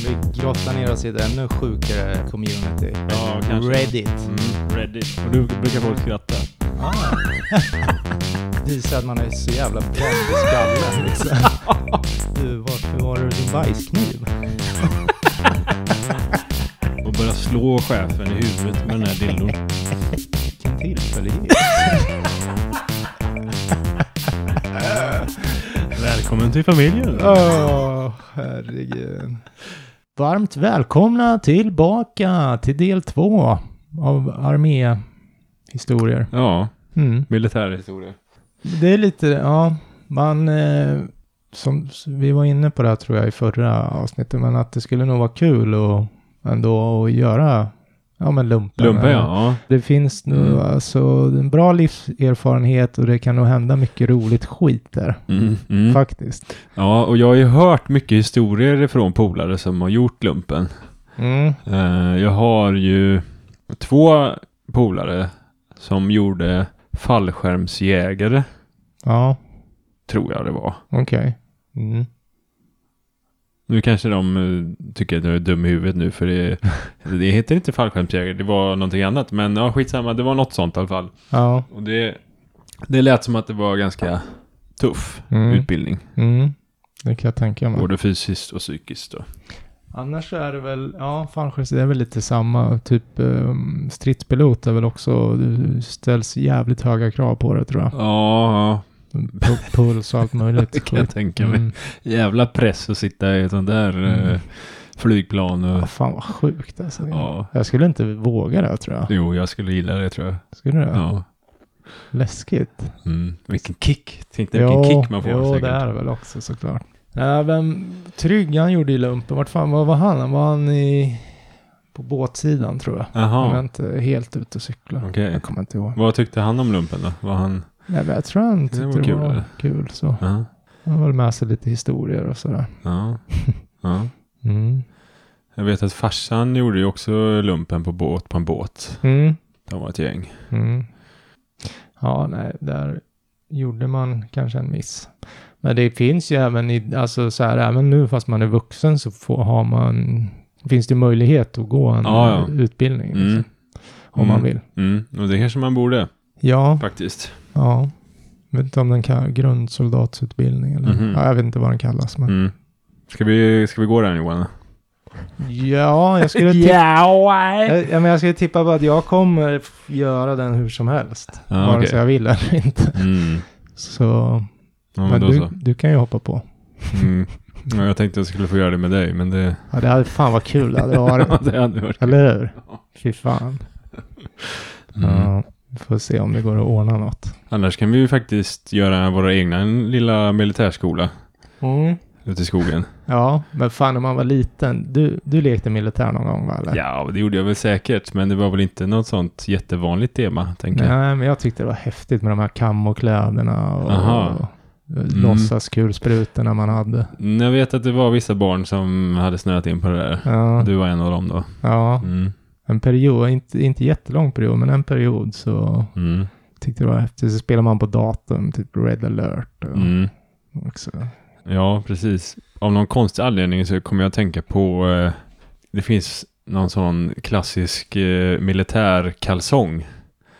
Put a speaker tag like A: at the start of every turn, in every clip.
A: Vi grottar ner oss i ett ännu sjukare community.
B: Ja, kanske.
A: Reddit.
B: Mm, Reddit. Och du brukar folk skratta.
A: Ah. Visar att man är så jävla bränd i skallen liksom. Du, varför var du din bajskniv?
B: Och börja slå chefen i huvudet med den här dildon.
A: Vilken tillfällighet.
B: Välkommen till familjen.
A: Åh, herregud. Varmt välkomna tillbaka till del två av arméhistorier.
B: Ja,
A: Mm.
B: militärhistoria.
A: Det är lite, ja, man, eh, som s- vi var inne på det här tror jag i förra avsnittet, men att det skulle nog vara kul och ändå att göra, ja men lumpen.
B: Lumpen ja. ja.
A: Det finns nu
B: Mm.
A: alltså en bra livserfarenhet och det kan nog hända mycket roligt skit där.
B: Mm, mm.
A: Faktiskt.
B: Ja, och jag har ju hört mycket historier från polare som har gjort lumpen.
A: Mm.
B: Eh, Jag har ju två polare som gjorde fallskärmsjägare,
A: Ja,
B: tror jag det var.
A: okej. Mm.
B: Nu kanske de eh, tycker att jag är dum i huvudet nu för det, det heter inte fallskärmsjägare, det var någonting annat. Men ja, skitsamma, det var något sånt i alla fall.
A: Ja.
B: Och det, det lät som att det var ganska tuff
A: Mm.
B: utbildning,
A: Mm. Det kan jag tänka mig.
B: både fysiskt och psykiskt. Då.
A: Annars så är det väl, ja, fallskärms, det är väl lite samma. Typ eh, stridspilot är väl också, det ställs jävligt höga krav på det tror jag.
B: Ja, ja,
A: Pu- Puls och allt möjligt.
B: det kan jag
A: Skit.
B: tänka mig.
A: Mm.
B: Jävla press att sitta i ett sånt där
A: Mm.
B: eh, flygplan.
A: Ja,
B: Och,
A: fan vad sjukt alltså.
B: ja.
A: Jag skulle inte våga det tror jag.
B: Jo, jag skulle gilla det tror jag.
A: Skulle du? Ja.
B: Ja.
A: Läskigt.
B: Mm. Vilken kick. Tänk dig vilken kick man får.
A: jo
B: säkert.
A: det är det väl också såklart. Nej, vem, Trygg han gjorde i lumpen, vart fan vad var han? Var han i, på båtsidan tror jag.
B: Jaha,
A: Om jag inte helt ute och cyklar.
B: okej.
A: Jag kommer inte ihåg.
B: Vad tyckte han om lumpen då? Var han...
A: Nej, men jag tror han tyckte det var,
B: kul,
A: kul,
B: eller?
A: så.
B: Ja.
A: Han har väl med sig lite historier och sådär.
B: Ja. ja.
A: Mm.
B: Jag vet att farsan gjorde ju också lumpen på båt på en båt.
A: Mm.
B: De var ett gäng.
A: Mm. Ja, nej, där gjorde man kanske en miss. Men det finns ju även i, alltså så här, även nu fast man är vuxen så får, har man, finns det möjlighet att gå en
B: Ja, ja.
A: utbildning.
B: Mm.
A: Liksom, om man vill.
B: Mm. Och det kanske man borde
A: Ja,
B: faktiskt.
A: ja. Jag vet inte om den kallas grundsoldatsutbildning eller,
B: Mhm.
A: ja, jag vet inte vad den kallas. Men.
B: Mm. Ska, vi, ska vi gå den Johan?
A: Ja, jag skulle tippa
B: Ja,
A: Jag, ja, men jag skulle tippa på att jag kommer f- göra den hur som helst.
B: ja
A: vare
B: Ah, okej.
A: sig jag vill eller inte.
B: Mm.
A: Så,
B: Ja, men
A: men
B: då
A: du,
B: så.
A: du kan ju hoppa på.
B: Mm. Ja, jag tänkte jag skulle få göra det med dig, men det...
A: Ja, det hade fan vad kul det hade varit.
B: det hade varit...
A: eller hur? Fy fan.
B: Mm.
A: Ja, vi får se om det går att ordna något.
B: Annars kan vi ju faktiskt göra våra egna lilla militärskola ute i skogen.
A: Ja, men fan när man var liten. Du, du lekte militär någon gång va? Eller?
B: Ja, det gjorde jag väl säkert, men det var väl inte något sånt jättevanligt tema, tänker jag.
A: Nej, men jag tyckte det var häftigt med de här kamokläderna och,
B: Aha.
A: och låtsaskulsprutorna man hade.
B: Mm, Jag vet att det var vissa barn som hade snöat in på det där.
A: Ja,
B: Du var en av dem då.
A: ja,
B: Mm.
A: en period, inte, inte jättelång period, men en period så
B: Mm.
A: Tyckte det var häftigt. Så spelar man på datorn, typ Red alert och
B: Mm.
A: också.
B: Ja, precis. Av någon konstig anledning så kommer jag att tänka på, eh, det finns någon sån klassisk eh, militärkalsong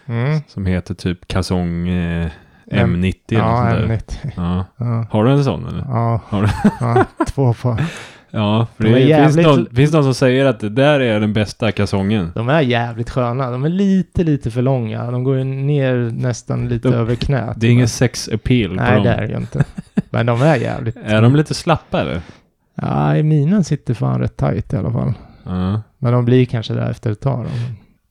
A: Mm.
B: som heter typ kalsong eh,
A: M-
B: M90. eller något
A: Ja,
B: sånt där.
A: ämnet.
B: Ja.
A: Ja,
B: Har du en sån eller?
A: ja,
B: Har du?
A: ja två par.
B: Ja, för
A: De
B: det
A: är
B: finns,
A: jävligt-
B: någon, finns någon som säger att det där är den bästa kalsongen.
A: De är jävligt sköna. De är lite, lite för långa. De går ju ner nästan lite
B: De-
A: över knät.
B: Det är ingen sex appeal på
A: Nej,
B: dem.
A: det är det ju inte. Men de är jävligt...
B: Är de lite slappa eller?
A: Ja, i minen sitter fan rätt tajt i alla fall.
B: Ja.
A: Men de blir kanske där efter ett tag. då.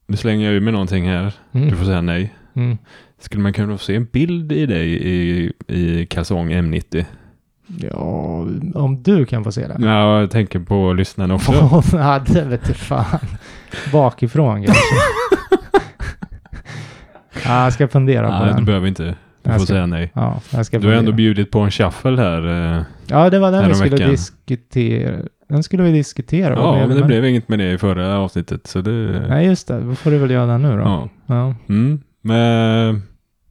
B: Nu slänger jag ur med någonting här. Du
A: Mm.
B: får säga nej.
A: Mm.
B: Skulle man kunna få se en bild i dig i, i kalsong M90?
A: Ja, om du kan få se det.
B: Ja, jag tänker på lyssnarna också.
A: Ja, det vete fan. Bakifrån kanske. ja, jag ska fundera på
B: Nej, du
A: den.
B: behöver inte. Du
A: Jag
B: får
A: ska-
B: säga nej.
A: Ja, jag ska
B: Du har
A: fundera.
B: ändå bjudit på en shuffle här. eh.
A: Ja, det var den vi skulle
B: Häromveckan.
A: diskutera. Den skulle vi diskutera. vad
B: Ja,
A: blev
B: men det eh,
A: den?
B: blev inget med det i förra avsnittet. Så det...
A: Nej, just det. Då får du väl göra den nu då.
B: Ja.
A: Ja.
B: Mm. Men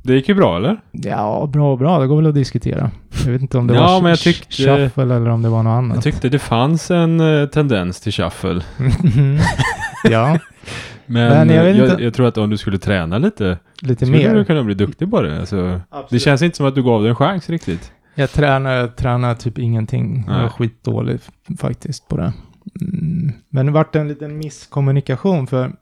B: Det gick ju bra eller?
A: Ja, bra och bra. Det går väl att diskutera. Jag vet inte om det
B: Ja,
A: var
B: men jag
A: sh-
B: tyckte-
A: shuffle eller om det var något
B: Jag
A: annat.
B: tyckte det fanns en eh, tendens till shuffle.
A: ja,
B: Men,
A: Men jag
B: jag,
A: vet
B: jag,
A: inte.
B: tror att om du skulle träna lite
A: lite
B: skulle du
A: mer.
B: kunna bli duktig på det. Alltså, det
A: Absolut.
B: känns inte som att du gav det en chans riktigt.
A: Jag tränar, jag tränar typ ingenting. Jag
B: Nej.
A: är skitdålig f- faktiskt på det. Mm. Men det vart en liten misskommunikation för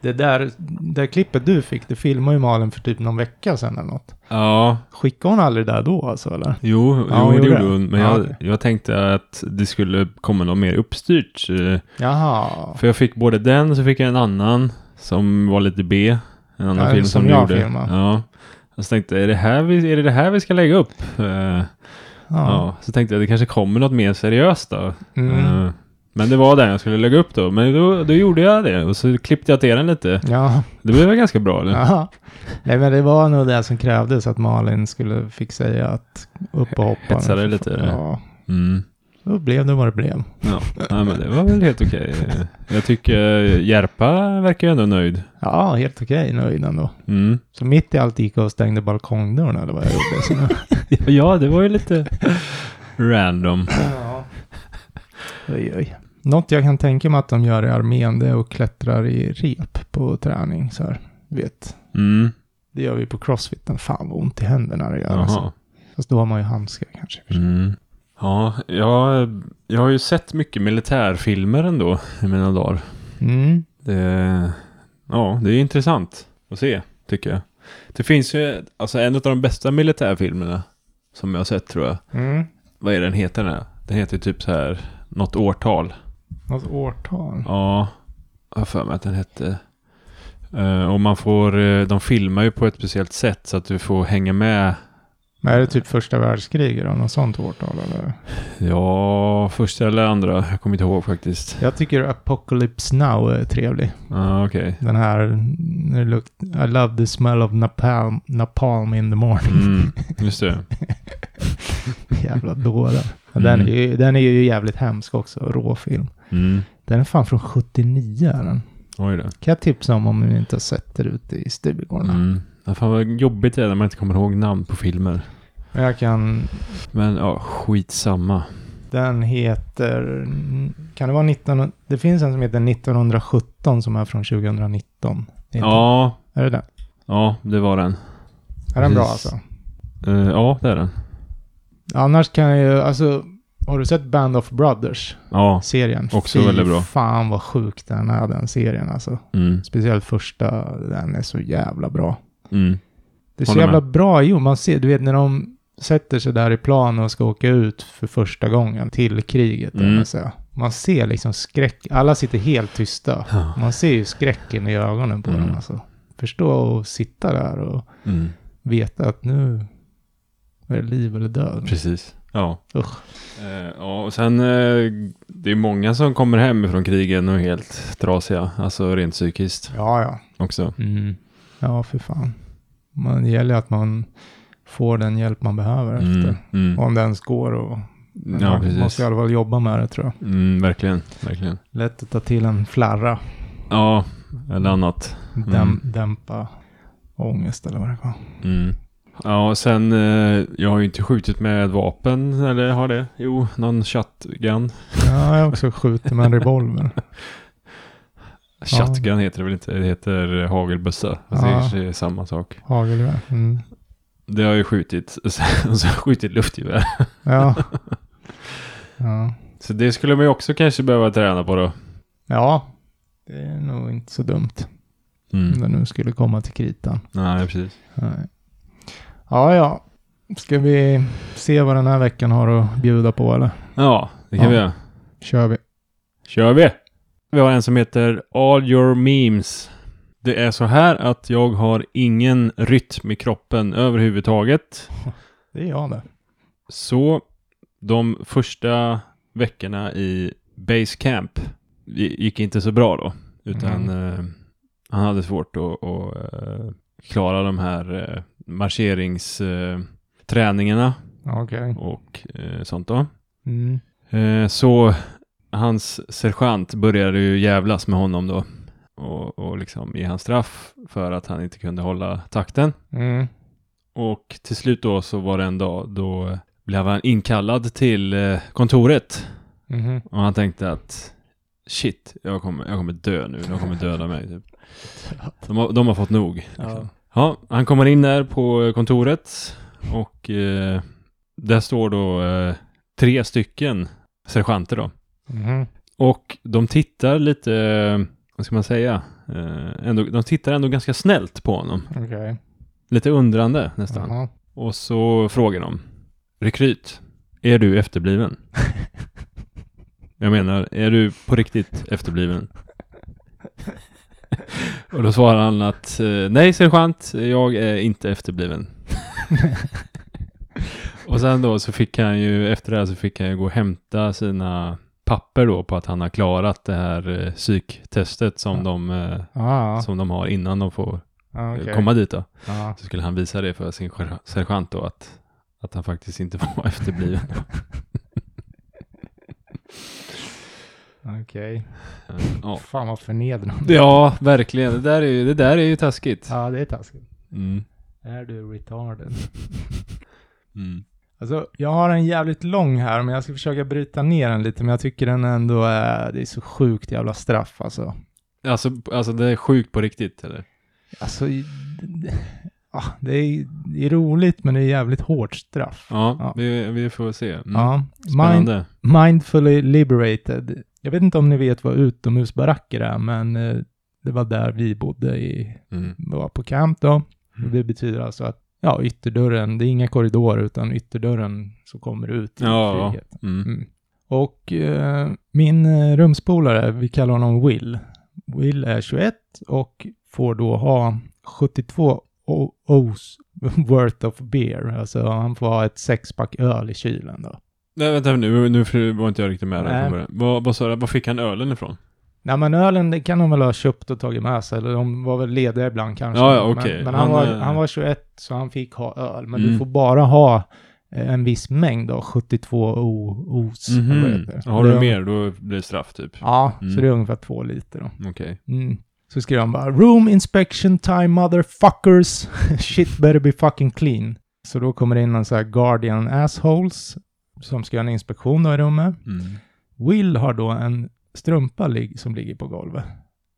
A: det där, det där klippet du fick, det filmade ju Malin för typ någon vecka sedan eller något.
B: Ja,
A: Skickade hon aldrig det där då alltså eller?
B: jo,
A: Ja, hon
B: jo det
A: gjorde
B: gjorde
A: det.
B: hon. Men
A: Ja,
B: jag,
A: okej.
B: jag tänkte att det skulle komma något mer uppstyrt. eh,
A: Jaha.
B: För jag fick både den, så fick jag en annan som var lite B. En annan
A: Ja,
B: film
A: som
B: som,
A: jag
B: gjorde.
A: filmade.
B: Ja. Jag tänkte, är det, här vi, är det det här vi ska lägga upp? Eh, ja.
A: Ja.
B: Så tänkte jag, det kanske kommer något mer seriöst då.
A: Mm.
B: Eh, men det var den jag skulle lägga upp då. Men då, då gjorde jag det och så klippte jag till den lite.
A: Ja.
B: Det blev väl ganska bra eller?
A: Jaha. Nej men det var nog det som krävdes att Malin skulle fick säga att upp och hoppa. nu.
B: Hetsa dig lite, eller?
A: Ja.
B: Mm.
A: Då blev det vad det blev.
B: Ja. Nej, men det var väl helt okej. Eh, Jag tycker eh, Järpa verkar ju ändå nöjd.
A: Ja, helt okej nöjd ändå.
B: Mm.
A: Så mitt i allt gick jag och stängde balkongdörren eller vad jag gjorde. Så nu,
B: Ja, det var ju lite random.
A: ja. Oj, oj. Något jag kan tänka mig att de gör i armén det är att klättra i rep på träning. Så här. Du vet,
B: Mm.
A: det gör vi på crossfiten. Fan vad ont i händerna det gör. Alltså.
B: Jaha.
A: Fast då har man ju handskar kanske.
B: Mm. Ja, jag, jag har ju sett mycket militärfilmer ändå i mina dagar.
A: Mm.
B: Det, ja, det är intressant att se, tycker jag. Det finns ju, alltså en av de bästa militärfilmerna som jag har sett tror jag.
A: Mm.
B: Vad är den heter den här? Den heter typ så här, något årtal.
A: Något årtal.
B: Ja, jag har för mig att den hette. Eh, och man får, eh, de filmar ju på ett speciellt sätt så att du får hänga med.
A: Men är det typ första världskriget då? Något sånt årtal eller?
B: Ja, första eller andra, jag kommer inte ihåg faktiskt.
A: Jag tycker Apocalypse Now är trevlig.
B: Ja, okej.
A: Den här, när det lukt, I love the smell of napalm, napalm in the morning.
B: Mm, just det.
A: Jävla dårar. Men Den, är ju, den är ju jävligt hemsk också, råfilm.
B: Mm.
A: Den är fan från 79 är den.
B: Oj då.
A: Kan jag tipsa om om ni inte har sett det ute i stugårdarna.
B: Mm. Ja, fan vad jobbigt det är när man inte kommer ihåg namn på filmer.
A: Men Jag kan,
B: Men ja, skitsamma.
A: den heter, kan det vara 19, det finns en som heter 1917 som är från 2019. Det är inte-
B: Ja,
A: Är det den?
B: ja, det var den.
A: Är den bra
B: Precis.
A: alltså?
B: Eh, ja, det är den.
A: Annars kan jag ju, alltså, har du sett Band of Brothers?
B: Ja,
A: Serien?
B: Också väldigt bra.
A: fan vad sjuk den är, den serien alltså.
B: mm,
A: Speciellt första, den är så jävla bra.
B: mm,
A: Det är så
B: Håller
A: jävla bra, jo man ser, du vet när de sätter sig där i plan och ska åka ut för första gången till kriget. eller
B: Mm.
A: vad säga. Man ser liksom skräck, alla sitter helt tysta.
B: Ja.
A: Man ser ju skräcken i ögonen på
B: Mm.
A: dem alltså. Förstå och sitta där och
B: mm,
A: veta att nu är det liv eller död.
B: precis. Ja.
A: Usch.
B: Eh, ja, och sen eh, det är många som kommer hem från krigen och är helt trasiga. Alltså rent psykiskt
A: Ja, ja.
B: också.
A: Mm. Ja, för fan. Man, det gäller att man får den hjälp man behöver
B: Mm,
A: efter.
B: mm.
A: Om det ens går och
B: Ja,
A: man måste i
B: precis.
A: alla fall jobba med det tror jag.
B: Mm, verkligen, verkligen.
A: Lätt att ta till en flarra.
B: Ja, eller annat.
A: Däm,
B: Mm.
A: Dämpa ångest eller vad det var.
B: Mm. Ja, och sen eh, jag har ju inte skjutit med ett vapen, eller har det? Jo, någon shotgun.
A: Ja, jag har också skjutit med en revolver.
B: Shotgun heter det väl inte? Det heter eh, hagelbössa. Fast
A: Ja.
B: det kanske är samma sak.
A: Hagelgevär. Mm.
B: Det har jag ju skjutit. Och sen och så har jag skjutit luftgevär.
A: Ja. ja.
B: Så det skulle man ju också kanske behöva träna på då.
A: Ja. Det är nog inte så dumt.
B: Mm.
A: Om det nu skulle komma till kritan.
B: Nej, precis.
A: Nej. Ja, ja. Ska vi se vad den här veckan har att bjuda på eller?
B: Ja, det kan
A: Ja.
B: vi göra.
A: Kör vi.
B: kör vi! Vi har en som heter All Your Memes. Det är så här att jag har ingen rytm i kroppen överhuvudtaget.
A: Det är jag det.
B: Så de första veckorna i basecamp gi- gick inte så bra då. Utan eh, han hade svårt att, att eh, klara de här eh, marscheringsträningarna
A: Okej.
B: och eh, sånt då.
A: Mm.
B: Eh, så hans sergeant började ju jävlas med honom då. Och, och liksom ge han straff för att han inte kunde hålla takten.
A: Mm.
B: Och till slut då så var det en dag då blev han inkallad till eh, kontoret.
A: Mhm.
B: Och han tänkte att shit, jag kommer, jag kommer dö nu. De kommer döda mig. Typ. De, har, de har fått nog. Liksom.
A: Ja.
B: Ja, han kommer in där på eh, kontoret och eh, där står då eh, tre stycken sergeanter då.
A: Mhm.
B: Och de tittar lite, eh, vad ska man säga, eh, ändå, de tittar ändå ganska snällt på honom.
A: Okej.
B: Lite undrande nästan.
A: Jaha.
B: Och så frågar de, rekryt, är du efterbliven? Jag menar, är du på riktigt efterbliven? Och då svarar han att eh, nej sergeant, jag är inte efterbliven. och sen då så fick han ju, efter det här så fick han ju gå och hämta sina papper då på att han har klarat det här eh, psyktestet som,
A: Ja.
B: de, eh,
A: Ah,
B: som de har innan de får
A: ah,
B: eh,
A: okej. Ah.
B: komma dit då.
A: Ja.
B: Så skulle han visa det för sin serge- sergeant då att, att han faktiskt inte var efterbliven.
A: Okej.
B: Eh, ja.
A: Fan vad förnedrande.
B: ja, verkligen. Det där är ju, det där är ju taskigt.
A: Ja, det är taskigt.
B: Mm.
A: Är du retarded?
B: Mm.
A: Alltså, jag har en jävligt lång här, men jag ska försöka bryta ner den lite, men jag tycker den ändå är... Det är så sjukt jävla straff alltså.
B: Alltså, alltså det är sjukt på riktigt eller?
A: Alltså, i- ah, det är, det är roligt, men det är jävligt hårt straff.
B: Ja,
A: Ja.
B: Vi, vi får se. Mm.
A: Ja. Mind,
B: Spännande.
A: mindfully liberated. Jag vet inte om ni vet vad utomhusbaracker är, men eh, det var där vi bodde i,
B: Mm.
A: var på camp då. Och Det betyder alltså att, ja, ytterdörren, det är inga korridorer, utan ytterdörren så kommer du ut i
B: Ja.
A: frihet.
B: Mm.
A: Mm. Och eh, min eh, rumspolare, vi kallar honom Will. Will är 21 och får då ha 72 o- O's worth of beer. Alltså han får ha ett sexpack öl i kylen då.
B: Nej, vänta nu, nu för- var inte jag riktigt med där
A: Nej.
B: från början. Vad, vad sa du, var fick han ölen ifrån?
A: Nej men ölen det kan de väl ha köpt och tagit med sig. Eller de var väl lediga ibland kanske.
B: Ja, ja, okej.
A: Men, men han,
B: Han,
A: var,
B: eh,
A: han var 21 så han fick ha öl. Men du
B: Mm.
A: får bara ha eh, en viss mängd då, 72 o- O's. eller vad det
B: Mhm.
A: heter.
B: Har
A: Mm-hmm. Det
B: du
A: är-
B: mer då blir det straff typ.
A: Ja, så
B: Mm.
A: det är ungefär två liter då.
B: Okej.
A: Mm. Så skrev han bara “Room inspection time motherfuckers, shit better be fucking clean”. Så då kommer det in någon så här Guardian assholes som ska göra en inspektion då i rummet.
B: Mm.
A: Will har då en strumpa lig- som ligger på golvet.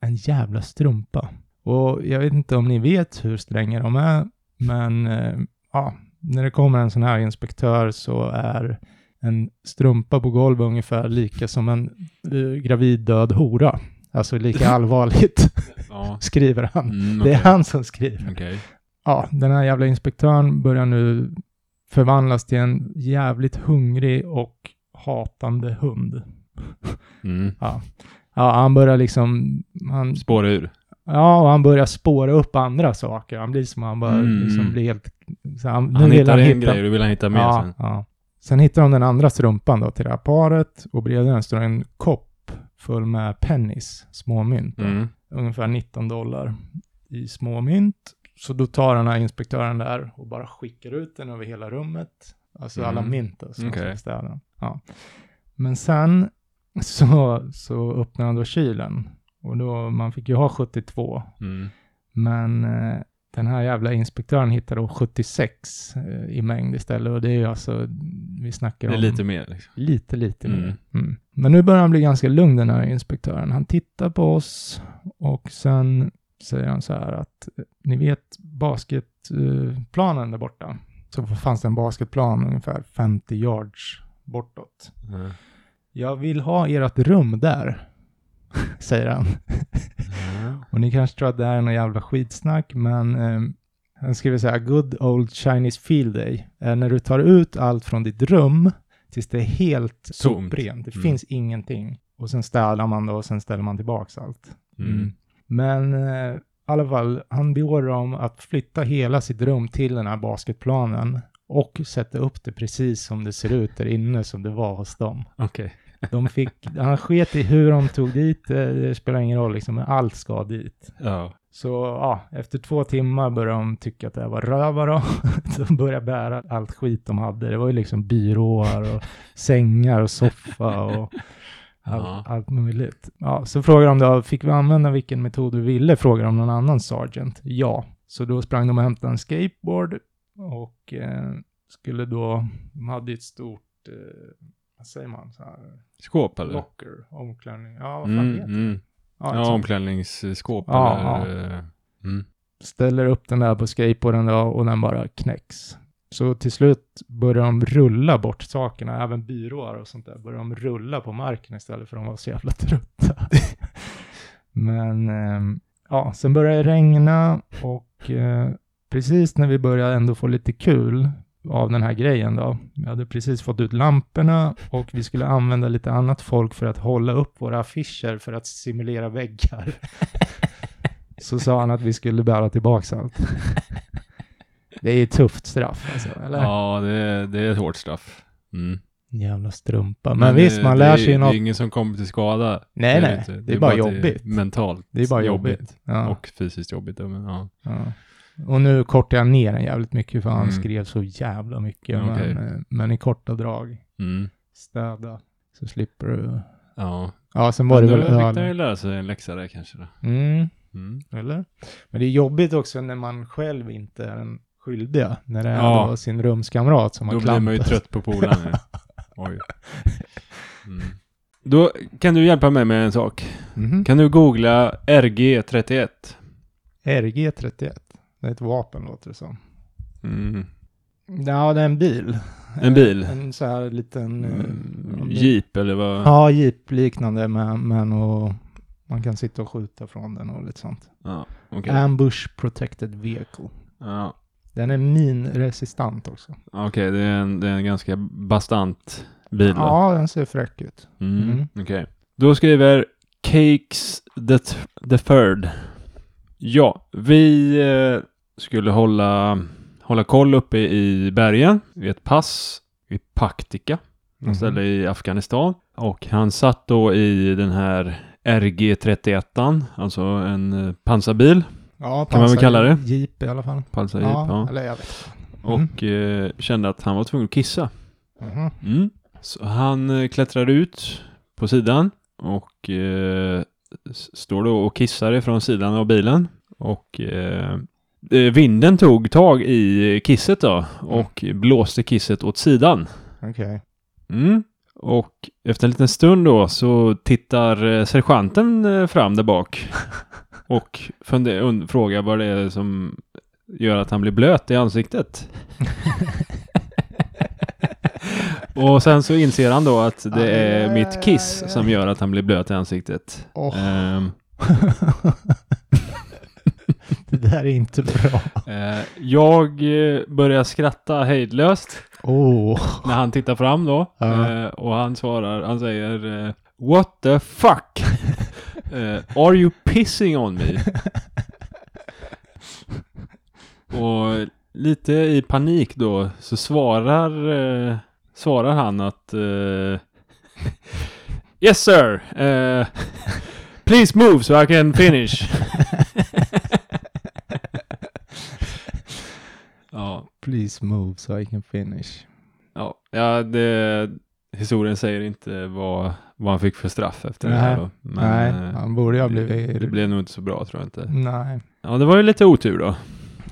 A: En jävla strumpa. Och jag vet inte om ni vet hur stränga de är, men eh, ja, när det kommer en sån här inspektör så är en strumpa på golvet ungefär lika som en eh, gravid död hora. Alltså lika allvarligt,
B: Ja.
A: skriver han.
B: Mm,
A: Det
B: okej.
A: är han som skriver.
B: Okej.
A: Ja, den här jävla inspektören börjar nu förvandlas till en jävligt hungrig och hatande hund.
B: Mm.
A: Ja, han börjar liksom, han,
B: Spåra ur.
A: ja, och han börjar spåra upp andra saker. Han blir som han bara
B: Mm.
A: liksom blir helt... Så han, nu
B: Han
A: vill
B: hittar
A: han
B: en
A: hitta,
B: grej, du vill han hitta mer
A: ja,
B: sen.
A: Ja. Sen hittar de den andra strumpan då till det här paret och bredvid den står en kopp full med pennies, småmynt. då.
B: Mm.
A: Ungefär 19 dollar i småmynt. Så då tar den här inspektören där och bara skickar ut den över hela rummet. Alltså alla
B: Mm.
A: mynt då, som
B: Okej.
A: finns där. då. Ja. Men sen så, så öppnar han då kylen. Och då, man fick ju ha 72.
B: Mm.
A: Men eh, den här jävla inspektören hittade då 76 eh, i mängd istället. Och det är ju alltså, vi snackar
B: Det är
A: om
B: lite mer liksom.
A: lite, lite
B: Mm.
A: mer. Mm. Men nu börjar han bli ganska lugn den här inspektören. Han tittar på oss och sen säger han så här att eh, ni vet basketplanen där borta. Så fanns det en basketplan ungefär 50 yards bortåt.
B: Mm.
A: Jag vill ha ert rum där, säger han.
B: Mm.
A: Och ni kanske tror att det här är någon jävla skitsnack, men eh, han skriver så här, good old Chinese field day. Eh, när du tar ut allt från ditt rum tills det är helt
B: Tomt.
A: soprent. Det
B: Mm.
A: finns ingenting. Och sen städar man då och sen ställer man tillbaka allt.
B: Mm.
A: Men eh, i alla fall, han beordrar dem att flytta hela sitt rum till den här basketplanen och sätta upp det precis som det ser ut där inne som det var hos dem.
B: Okej.
A: De fick, han sket i hur de tog dit, eh, det spelar ingen roll liksom, men allt ska dit.
B: Ja.
A: Så ja, efter två timmar började de tycka att det här var rövare. och De började bära allt skit de hade. Det var ju liksom byråer och sängar och soffa och allt,
B: Ja.
A: allt möjligt. Ja, så frågade de då, fick vi använda vilken metod vi ville? Frågade de någon annan sergeant. Ja. Så då sprang de och hämtade en skateboard Och eh, skulle då, de hade ett stort, eh, vad säger man, så här,
B: Skåp eller?
A: locker, omklädning, ja vad fan
B: Mm,
A: heter det?
B: mm.
A: Ja,
B: Ja,
A: alltså,
B: omklädningsskåp
A: Ja,
B: eller... eh, Mm.
A: ställer upp den där på skateboarden då, och den bara knäcks. Så till slut börjar de rulla bort sakerna, även byråer och sånt där, börjar de rulla på marken istället för de var så jävla trötta. Men ehm, ja, sen börjar det regna och eh, precis när vi börjar ändå få lite kul av den här grejen då, vi hade precis fått ut lamporna och vi skulle använda lite annat folk för att hålla upp våra affischer för att simulera väggar. Så sa han att vi skulle bära tillbaka allt. Det är ett tufft straff alltså, eller?
B: Ja, det, är- det är ett hårt straff. Mm.
A: Jävla strumpa. Men, visst, man lär sig
B: det,
A: något.
B: Det är ingen som kommer till skada.
A: nej,
B: Det är
A: nej,
B: inte.
A: det, är bara
B: att
A: jobbigt.
B: Det är mentalt
A: Det är bara jobbigt. Ja.
B: Och fysiskt jobbigt. ja, Men, ja.
A: Ja. Och nu kortade jag ner den jävligt mycket för han
B: Mm.
A: skrev så jävla mycket.
B: Ja, okej.
A: Men, eh, men i korta drag,
B: Mm.
A: städa, så slipper du.
B: ja.
A: Ja, sen var det
B: Men
A: väl
B: då fick de ju
A: öl.
B: lära sig en läxa där kanske. Då.
A: Mm,
B: Mm.
A: eller? Men det är jobbigt också när man själv inte är den skyldiga. När det är
B: Ja.
A: då sin rumskamrat som
B: Då
A: har
B: blir man ju
A: klampat.
B: trött på polaren. ju. Oj. Mm. Då kan du hjälpa mig med en sak.
A: Mhm.
B: Kan du googla RG31?
A: RG31, det är ett vapen låter det som.
B: Mm.
A: Ja, det är en bil.
B: En bil? Mm.
A: En så här liten... eh, om det-
B: Jeep eller vad?
A: Ja, jeep-liknande, men, men och man kan sitta och skjuta från den och lite sånt.
B: Ja, okej.
A: Ambush Protected Vehicle.
B: Ja.
A: Den är minresistant också.
B: Okej, det, är en- det är en ganska bastant bil då.
A: Ja, den ser fräck ut.
B: Mm,
A: Mm.
B: Okej. Då skriver Cakes the, th- the third. Ja, vi eh, skulle hålla, hålla koll uppe i bergen vid ett pass i Paktika,
A: Mhm.
B: mm. ställe i Afghanistan. Och han satt då i den här RG31, alltså en eh, pansarbil,
A: Ja,
B: Kan man väl
A: pansar-
B: kalla det?
A: Jeep i alla fall.
B: pansarjeep,
A: Ja, Mm.
B: ja.
A: eller jag vet.
B: och eh, kände att han var tvungen att kissa.
A: Mhm.
B: Mm. Så han eh, klättrar ut på sidan och eh, s- står då och kissar ifrån sidan av bilen. Och eh, eh, vinden tog tag i kisset då och
A: Mm.
B: blåste kisset åt sidan.
A: Okej.
B: Mm. Och efter en liten stund då så tittar eh, sergeanten eh, fram där bak och funde- und- frågar vad det är som gör att han blir blöt i ansiktet. och sen så inser han då att det är mitt kiss som gör att han blir blöt i ansiktet.
A: Åh,
B: Ehm,
A: det där är inte bra.
B: eh, jag eh, börjar skratta hejdlöst
A: Åh,
B: när han tittar fram då.
A: Ja.
B: Eh, och han svarar, han säger eh, What the fuck? Eh, are you pissing on me? och lite i panik då så svarar, eh, svarar han att eh, Yes sir! Eh, please move so I can finish. ja.
A: please move so I can finish.
B: Ja, ja det, historien säger inte vad, vad han fick för straff efter det
A: Nej.
B: här. Då. Men
A: Nej,
B: eh,
A: han borde ha
B: det,
A: blivit...
B: det blev nog inte så bra tror jag inte.
A: Nej.
B: Ja, det var ju lite otur då.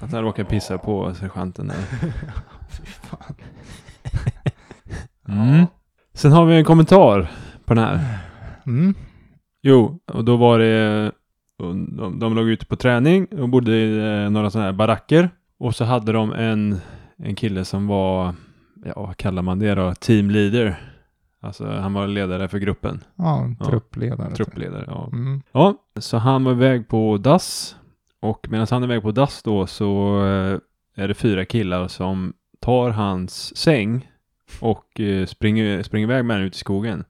B: Att han råkade pissa på sergeanten där.
A: Fy fan.
B: Mm. Sen har vi en kommentar på den här.
A: Mm.
B: Jo, och då var det... och De, de låg ute på träning och bodde i eh, några sådana här baracker. Och så hade de en, en kille som var, ja vad kallar man det då, teamleader. Alltså han var ledare för gruppen.
A: Ja, en
B: Ja.
A: truppledare.
B: Truppledare, ja.
A: Mm.
B: Ja, så han var iväg på dass och medan han är iväg på dass då så eh, är det fyra killar som tar hans säng och eh, springer, springer iväg med den ut i skogen.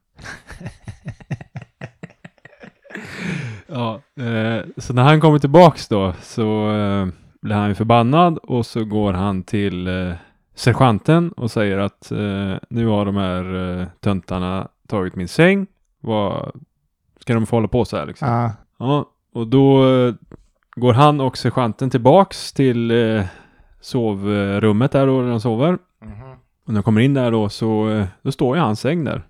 B: ja, eh, så när han kommer tillbaks då så eh, blir han ju förbannad och så går han till eh, sergeanten och säger att eh, nu har de här eh, töntarna tagit min säng. Vad ska de få hålla på så här liksom?
A: Ah,
B: Ja, och då eh, går han och sergeanten tillbaks till eh, sovrummet
A: Mhm.
B: där då, där de sover. Och när de kommer in där då så, eh, då står ju hans säng där.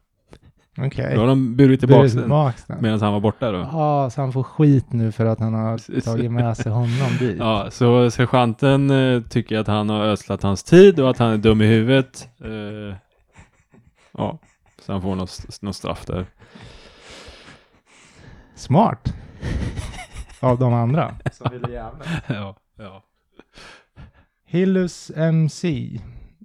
A: Okej.
B: Då har de burit tillbaka
A: Burit
B: den
A: tillbaks den.
B: medan han var borta då.
A: Ja, så han får skit nu för att han har
B: Precis.
A: tagit med sig honom dit.
B: Ja, så sergeanten eh, tycker att han har ödslat hans tid och att han är dum i huvudet. Eh, ja, så han får något, något straff där.
A: Smart. Av de andra. Som ville jävla.
B: ja, ja.
A: Hillus MC.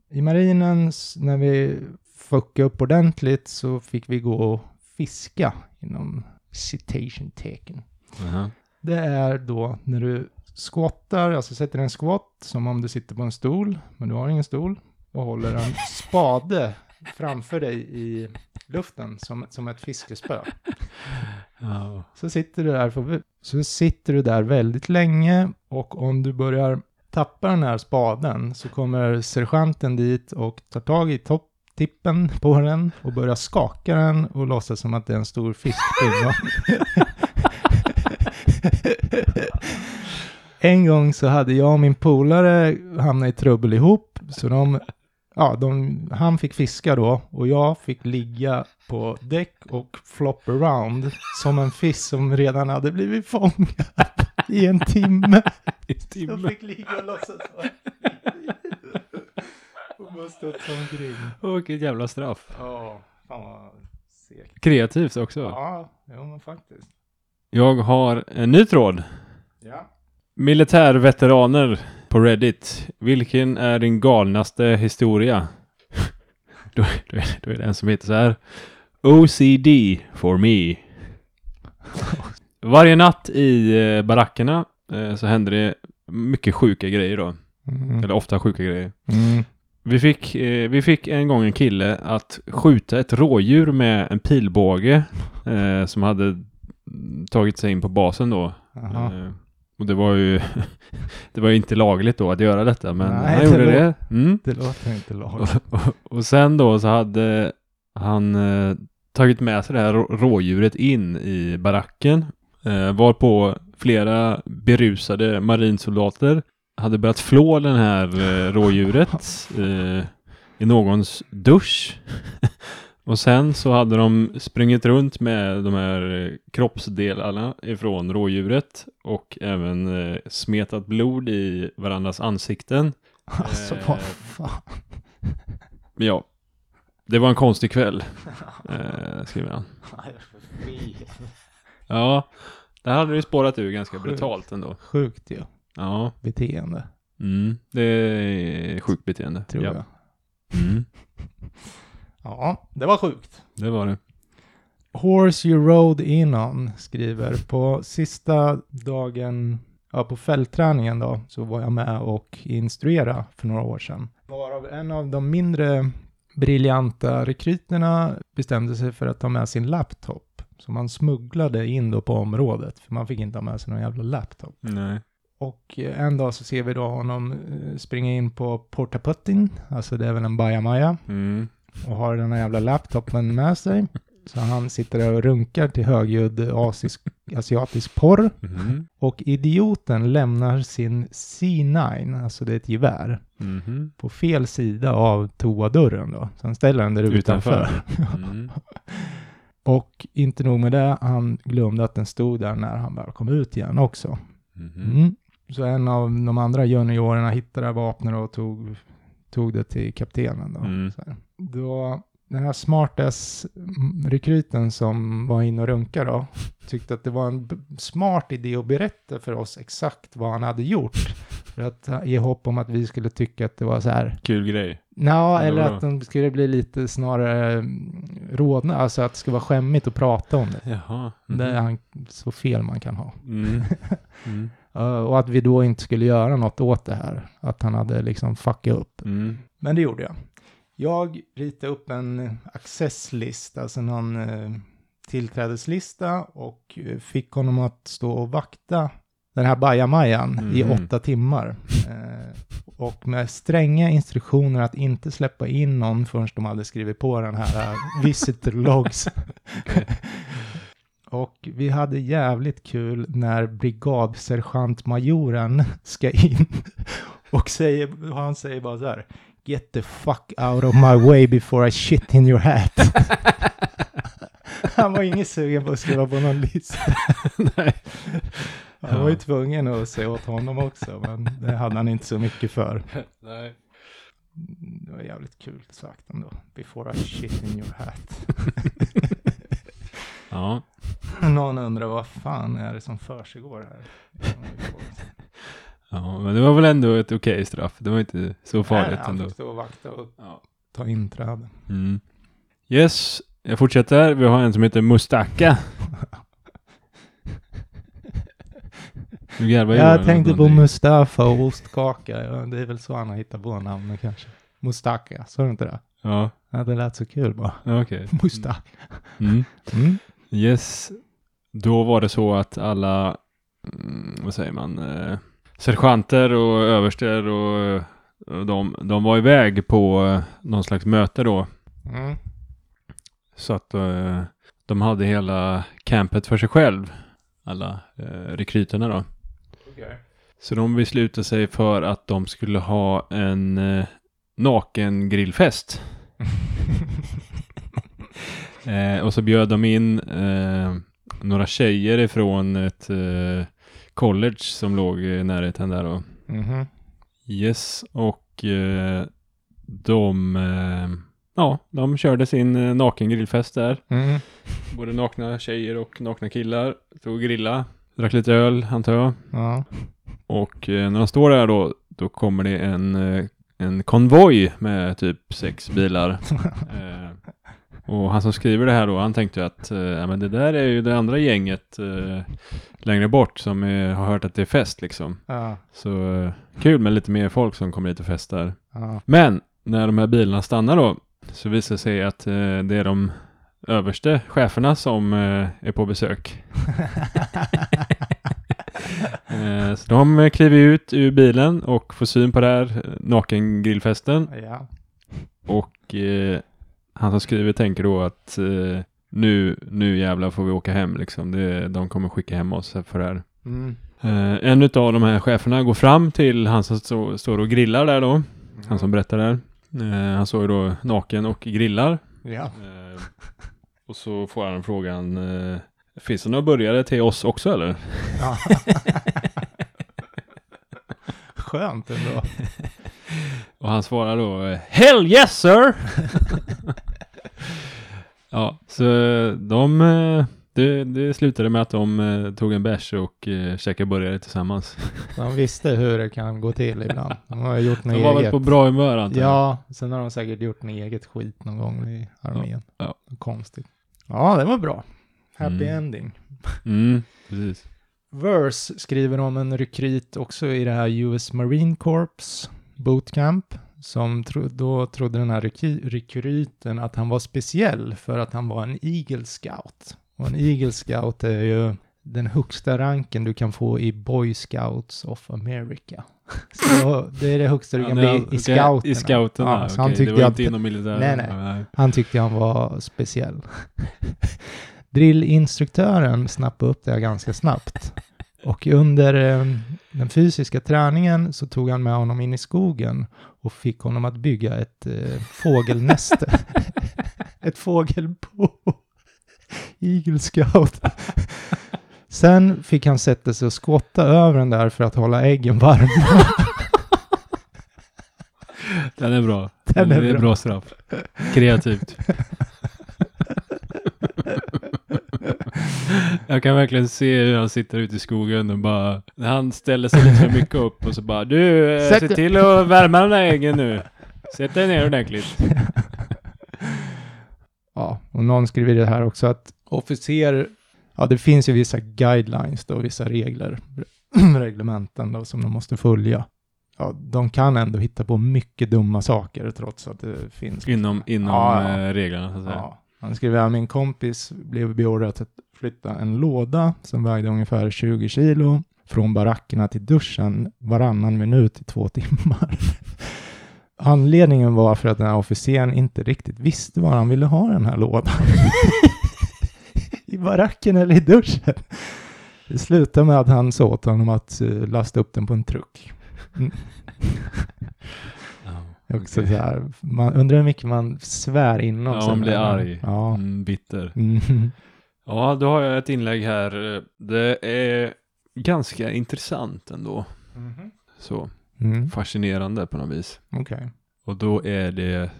A: I marinen, s- när vi fuckade upp ordentligt, så fick vi gå och fiska inom citation tecken.
B: Aha.
A: Det är då när du squattar, alltså sätter en squat som om du sitter på en stol, men du har ingen stol, och håller en spade framför dig i luften som, som ett fiskespö.
B: Ja.
A: Så sitter du där för, så sitter du där väldigt länge och om du börjar tappa den här spaden så kommer sergeanten dit och tar tag i topp tippen på den och börjar skaka den och låtsas som att det är en stor fiskpinne. en gång så hade jag och min polare hamnat i trubbel ihop, så de, ja, de, han fick fiska då och jag fick ligga på däck och flop around som en fisk som redan hade blivit fångad i en timme. Jag fick ligga och låtsas vara och bara stått som grym.
B: Och vilket jävla straff.
A: Ja, fan vad segt.
B: Kreativt också.
A: Ja, jo men faktiskt.
B: Jag har en ny tråd.
A: Ja.
B: Militärveteraner på Reddit. Vilken är din galnaste historia? då, då, är- då är det en som heter så här. OCD for me. Varje natt i eh, barackerna eh, så hände det mycket sjuka grejer då. Eller ofta sjuka grejer.
A: Mm.
B: Vi fick, eh, vi fick en gång en kille att skjuta ett rådjur med en pilbåge eh, som hade mm, tagit sig in på basen då.
A: Jaha.
B: Eh, Och det var ju det var ju inte lagligt då att göra detta, men
A: Nej,
B: han
A: det
B: gjorde
A: lå-
B: det. Mm.
A: Det låter inte lagligt.
B: Och, och, och sen då så hade han eh, tagit med sig det här rå- rådjuret in i baracken, eh, varpå flera berusade marinsoldater hade börjat flå den här eh, rådjuret eh, i någons dusch. Och sen så hade de sprungit runt med de här eh, kroppsdelarna ifrån rådjuret och även eh, smetat blod i varandras ansikten.
A: Alltså vad fan.
B: Men ja, det var en konstig kväll, eh, skriver han. Ja, det hade ju spårat ur ganska
A: Sjukt.
B: brutalt ändå.
A: Sjukt ju.
B: Ja,
A: Beteende,
B: mm. det är sjukt beteende.
A: tror
B: ja.
A: jag.
B: Mm.
A: Ja, det var sjukt.
B: Det var det.
A: Horse you rode in on skriver på sista dagen, ja på fältträningen då, så var jag med och instruera för några år sedan. Varav en av de mindre briljanta rekryterna bestämde sig för att ta med sin laptop. Som man smugglade in då på området, för man fick inte ha med sig någon jävla laptop.
B: Nej.
A: Och eh, en dag så ser vi då honom eh, springa in på Porta Puttin, alltså det är väl en bajamaja,
B: Mm.
A: och har den här jävla laptopen med sig. Så han sitter där och runkar till högljudd asisk, asiatisk porr.
B: Mhm.
A: Och idioten lämnar sin C9, alltså det är ett gevär,
B: Mhm.
A: på fel sida av toadörren då. Så han ställer den där utanför.
B: Utanför. Mm.
A: Och inte nog med det, han glömde att den stod där när han väl kom ut igen också.
B: Mhm.
A: Mm. Så en av de andra juniorerna hittade vapnet och tog, tog det till kaptenen. Då.
B: Mm.
A: Så här. då, den här smartes mm, rekryten som var inne och runka då, tyckte att det var en b- smart idé att berätta för oss exakt vad han hade gjort. För att eh, i hopp om att vi skulle tycka att det var så här,
B: Kul grej.
A: Nja,
B: Eller
A: eller
B: vadå?
A: att de skulle bli lite snarare mm, rodna, alltså att det skulle vara skämmigt att prata om det.
B: Jaha. Mhm.
A: Det är han, så fel man kan ha.
B: Mm. Mm.
A: Eh, Och att vi då inte skulle göra något åt det här. Att han hade liksom fuckat upp.
B: Mm.
A: Men det gjorde jag. Jag ritade upp en accesslista, alltså någon eh, tillträdeslista och eh, fick honom att stå och vakta den här bajamajan i
B: Mhm.
A: åtta timmar. Eh, och med stränga instruktioner att inte släppa in någon förrän de hade skrivit på den här eh, visitor logs. och vi hade jävligt kul när brigadsergeantmajoren ska in och säger, han säger bara så här. Get the fuck out of my way before I shit in your hat. Han var ingen sugen på att skriva på någon lista.
B: Nej.
A: Jag var ju
B: Ja.
A: tvungen att säga åt honom också, men det hade han inte så mycket för.
B: Nej.
A: Det var jävligt kul sagt ändå. Before I shit in your hat.
B: Ja.
A: Någon undrar vad fan är det som försiggår här?
B: ja, men det var väl ändå ett okej straff. Det var inte så farligt
A: Nej, Han
B: ändå.
A: fick stå och vakta och
B: Ja.
A: ta inträde.
B: Mm. Yes, jag fortsätter. Vi har en som heter Mustaka. Nu garvar Johan
A: Jag tänkte
B: åt
A: på
B: någonting.
A: Mustafa och ostkaka. Ja, Det är väl så han har hittat på namnet kanske. Mustaka, sa du inte det?
B: Ja,
A: Ja, det lät så kul bara.
B: okej.
A: Mustaka.
B: Mm.
A: Mm.
B: Yes. Då var det så att alla, mm, vad säger man, eh, sergeanter och överster och, och de, de var iväg på eh, någon slags möte då.
A: Mm.
B: Så att eh, de hade hela campet för sig själv. Alla eh, rekryterna då.
A: Okej.
B: Så de beslutade sig för att de skulle ha en eh, naken grillfest. Eh, och så bjöd de in eh, några tjejer ifrån ett eh, college som låg i närheten där då.
A: Mhm.
B: Yes, och eh, de, eh, ja, de körde sin eh, nakengrillfest där.
A: Mm.
B: Både nakna tjejer och nakna killar. Stod och grilla, drack lite öl antar jag.
A: Ja.
B: Och eh, när de står där då, då kommer det en, eh, en konvoj med typ sex bilar. Eh, och han som skriver det här då, han tänkte ju att eh, ja, men det där är ju det andra gänget eh, längre bort som eh, har hört att det är fest liksom.
A: Ja.
B: Så eh, kul med lite mer folk som kommer hit och festar.
A: Ja.
B: Men när de här bilarna stannar då så visar det sig att eh, det är de överste cheferna som eh, är på besök. Eh, så de eh, kliver ut ur bilen och får syn på det här eh, nakengrillfesten.
A: ja.
B: Och eh, han som skriver tänker då att eh, nu, nu jävlar får vi åka hem liksom. Det, de kommer skicka hem oss för det här.
A: Mm.
B: Eh, en av de här cheferna går fram till han som stå, står och grillar där då. Han som berättar där. Eh, han står ju då naken och grillar.
A: Ja.
B: Eh, och så får han frågan eh, Finns det några burgare till oss också eller?
A: ja. Skönt ändå.
B: Och han svarar då eh, Hell yes sir! ja, så de eh, det, det slutade med att de eh, tog en bärs och eh, käkade burgare tillsammans.
A: De visste hur det kan gå till ibland. De har gjort något
B: De var väl
A: eget.
B: på bra humör antar jag.
A: Ja, sen har de säkert gjort något eget skit någon gång i armén.
B: Ja,
A: Konstigt. Ja, det var bra. Happy
B: Mm.
A: ending.
B: Mm, precis.
A: Verse skriver om en rekryt också i det här US Marine Corps bootcamp. Som tro, då trodde den här reky, rekryten att han var speciell för att han var en Eagle Scout. Och en Eagle Scout är ju den högsta ranken du kan få i Boy Scouts of America. Så det är alltså, det högsta du kan bli i
B: scouten.
A: scouterna.
B: I scouterna,
A: Ja,
B: okej.
A: så han tyckte
B: Det var
A: att-
B: inte inom militären.
A: Nej, nej. Han tyckte han var speciell. Drillinstruktören snappade upp det här ganska snabbt. Och under eh, den fysiska träningen så tog han med honom in i skogen och fick honom att bygga ett eh, fågelnäste. ett fågelbo. Eagle Scout. Sen fick han sätta sig och skotta över den där för att hålla äggen varma.
B: Den är bra.
A: Den är
B: det är
A: bra.
B: bra straff. Kreativt. Jag kan verkligen se hur han sitter ute i skogen och bara, han ställer sig lite för mycket upp och så bara, du, eh,
A: Sätt
B: se
A: dig-
B: till att värma den där äggen nu. Sätt dig ner ordentligt.
A: Ja, och någon skriver det här också att officer, ja det finns ju vissa guidelines då, vissa regler, reglementen då som de måste följa. Ja, de kan ändå hitta på mycket dumma saker trots att det finns.
B: Inom, inom
A: Ja, ja.
B: eh, reglerna så att säga.
A: Ja, han skriver här, min kompis blev beordrat att flytta en låda som vägde ungefär 20 kilo från barackerna till duschen varannan minut i två timmar. Anledningen var för att den här officeren inte riktigt visste var han ville ha den här lådan. I baracken eller i duschen. Det slutade med att han sa åt honom att eh, lasta upp den på en truck.
B: Ja.
A: Också
B: Okej.
A: så här, man undrar hur mycket man svär inom
B: Ja,
A: sig
B: man blir
A: med den.
B: arg.
A: Ja.
B: Mm, bitter.
A: Mm.
B: Ja, då har jag ett inlägg här. Det är ganska intressant ändå. Så
A: Mm.
B: fascinerande på något vis.
A: Okej.
B: Och då är det,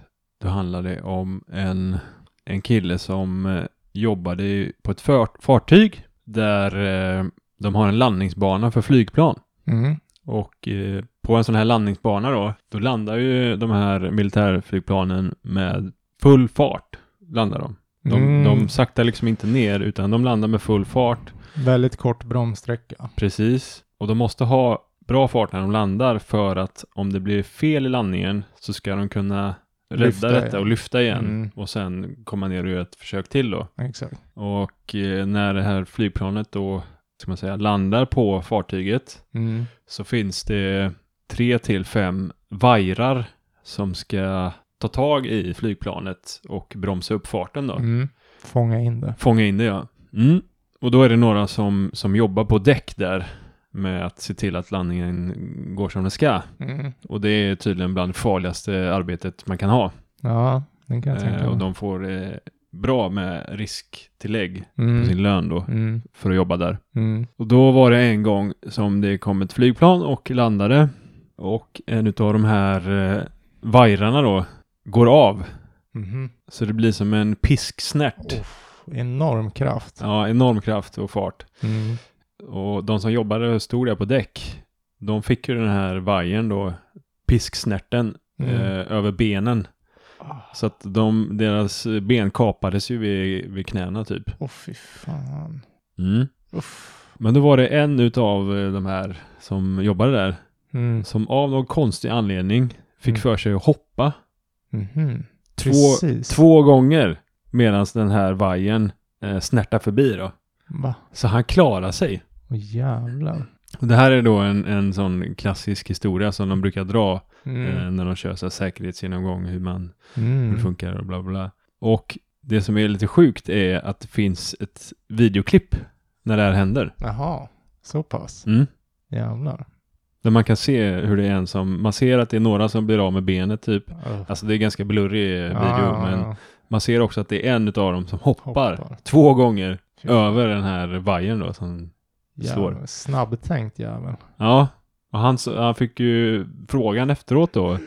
B: då handlar det om en, en kille som eh, jobbade i- på ett för, fartyg där eh, de har en landningsbana för flygplan.
A: Mm.
B: Och eh, på en sån här landningsbana då, då landar ju de här militärflygplanen med full fart. Landar de. De,
A: Mm.
B: de saktar liksom inte ner utan de landar med full fart.
A: Väldigt kort bromssträcka.
B: Precis. Och de måste ha bra fart när de landar för att om det blir fel i landningen så ska de kunna rädda
A: Lyfta
B: detta
A: igen.
B: och lyfta igen.
A: Mm.
B: Och sen komma ner och göra ett försök till då.
A: Exakt.
B: Och eh, när det här flygplanet då, ska man säga, landar på fartyget
A: Mm.
B: så finns det tre till fem vajrar som ska ta tag i flygplanet och bromsa upp farten då.
A: Mm. Fånga in det.
B: Fånga in det ja. Mm. Och då är det några som, som jobbar på däck där med att se till att landningen går som den ska.
A: Mm.
B: Och det är tydligen bland det farligaste arbetet man kan ha.
A: Ja, den kan jag tänka
B: Eh,
A: mig.
B: och de får eh, bra med risktillägg på
A: mm.
B: sin lön då
A: Mm.
B: för att jobba där.
A: Mm.
B: Och då var det en gång som det kom ett flygplan och landade. Och en utav de här eh, vajrarna då går av.
A: Mhm.
B: Så det blir som en pisksnärt.
A: Uff, enorm kraft.
B: Ja, enorm kraft och fart.
A: Mm.
B: Och de som jobbade och stod där på däck, de fick ju den här vajern då, pisksnärten,
A: Mm.
B: eh, över benen.
A: Ah,
B: Så att de, deras ben kapades ju vid, vid knäna typ. Mm.
A: Åh fy fan. Uff.
B: Men då var det en utav eh, de här som jobbade där,
A: Mm.
B: som av någon konstig anledning fick
A: Mm.
B: för sig att hoppa
A: Mhm.
B: Två-
A: Precis.
B: två gånger medan den här vajern eh, snärtar förbi då.
A: Va?
B: Så han klarar sig.
A: Åh jävlar.
B: Och Det här är då en, en sån klassisk historia som de brukar dra eh,
A: Mm.
B: när de kör så här säkerhetsgenomgång, hur man hur det
A: Mm.
B: funkar och bla bla, bla. Och det som är lite sjukt är att det finns ett videoklipp när det här händer.
A: Jaha, så pass.
B: Mm.
A: Jävlar.
B: Där man kan se hur det är en som, man ser att det är några som blir av med benet typ.
A: Uff.
B: Alltså det är ganska blurrig eh, video,
A: Ah,
B: men man ser också att det är en av dem som hoppar,
A: Hoppar.
B: två gånger
A: Fy
B: över den här vajern då. Som, slår.
A: jävlar. Snabbtänkt jävel.
B: ja, och han, s- han fick ju frågan efteråt då,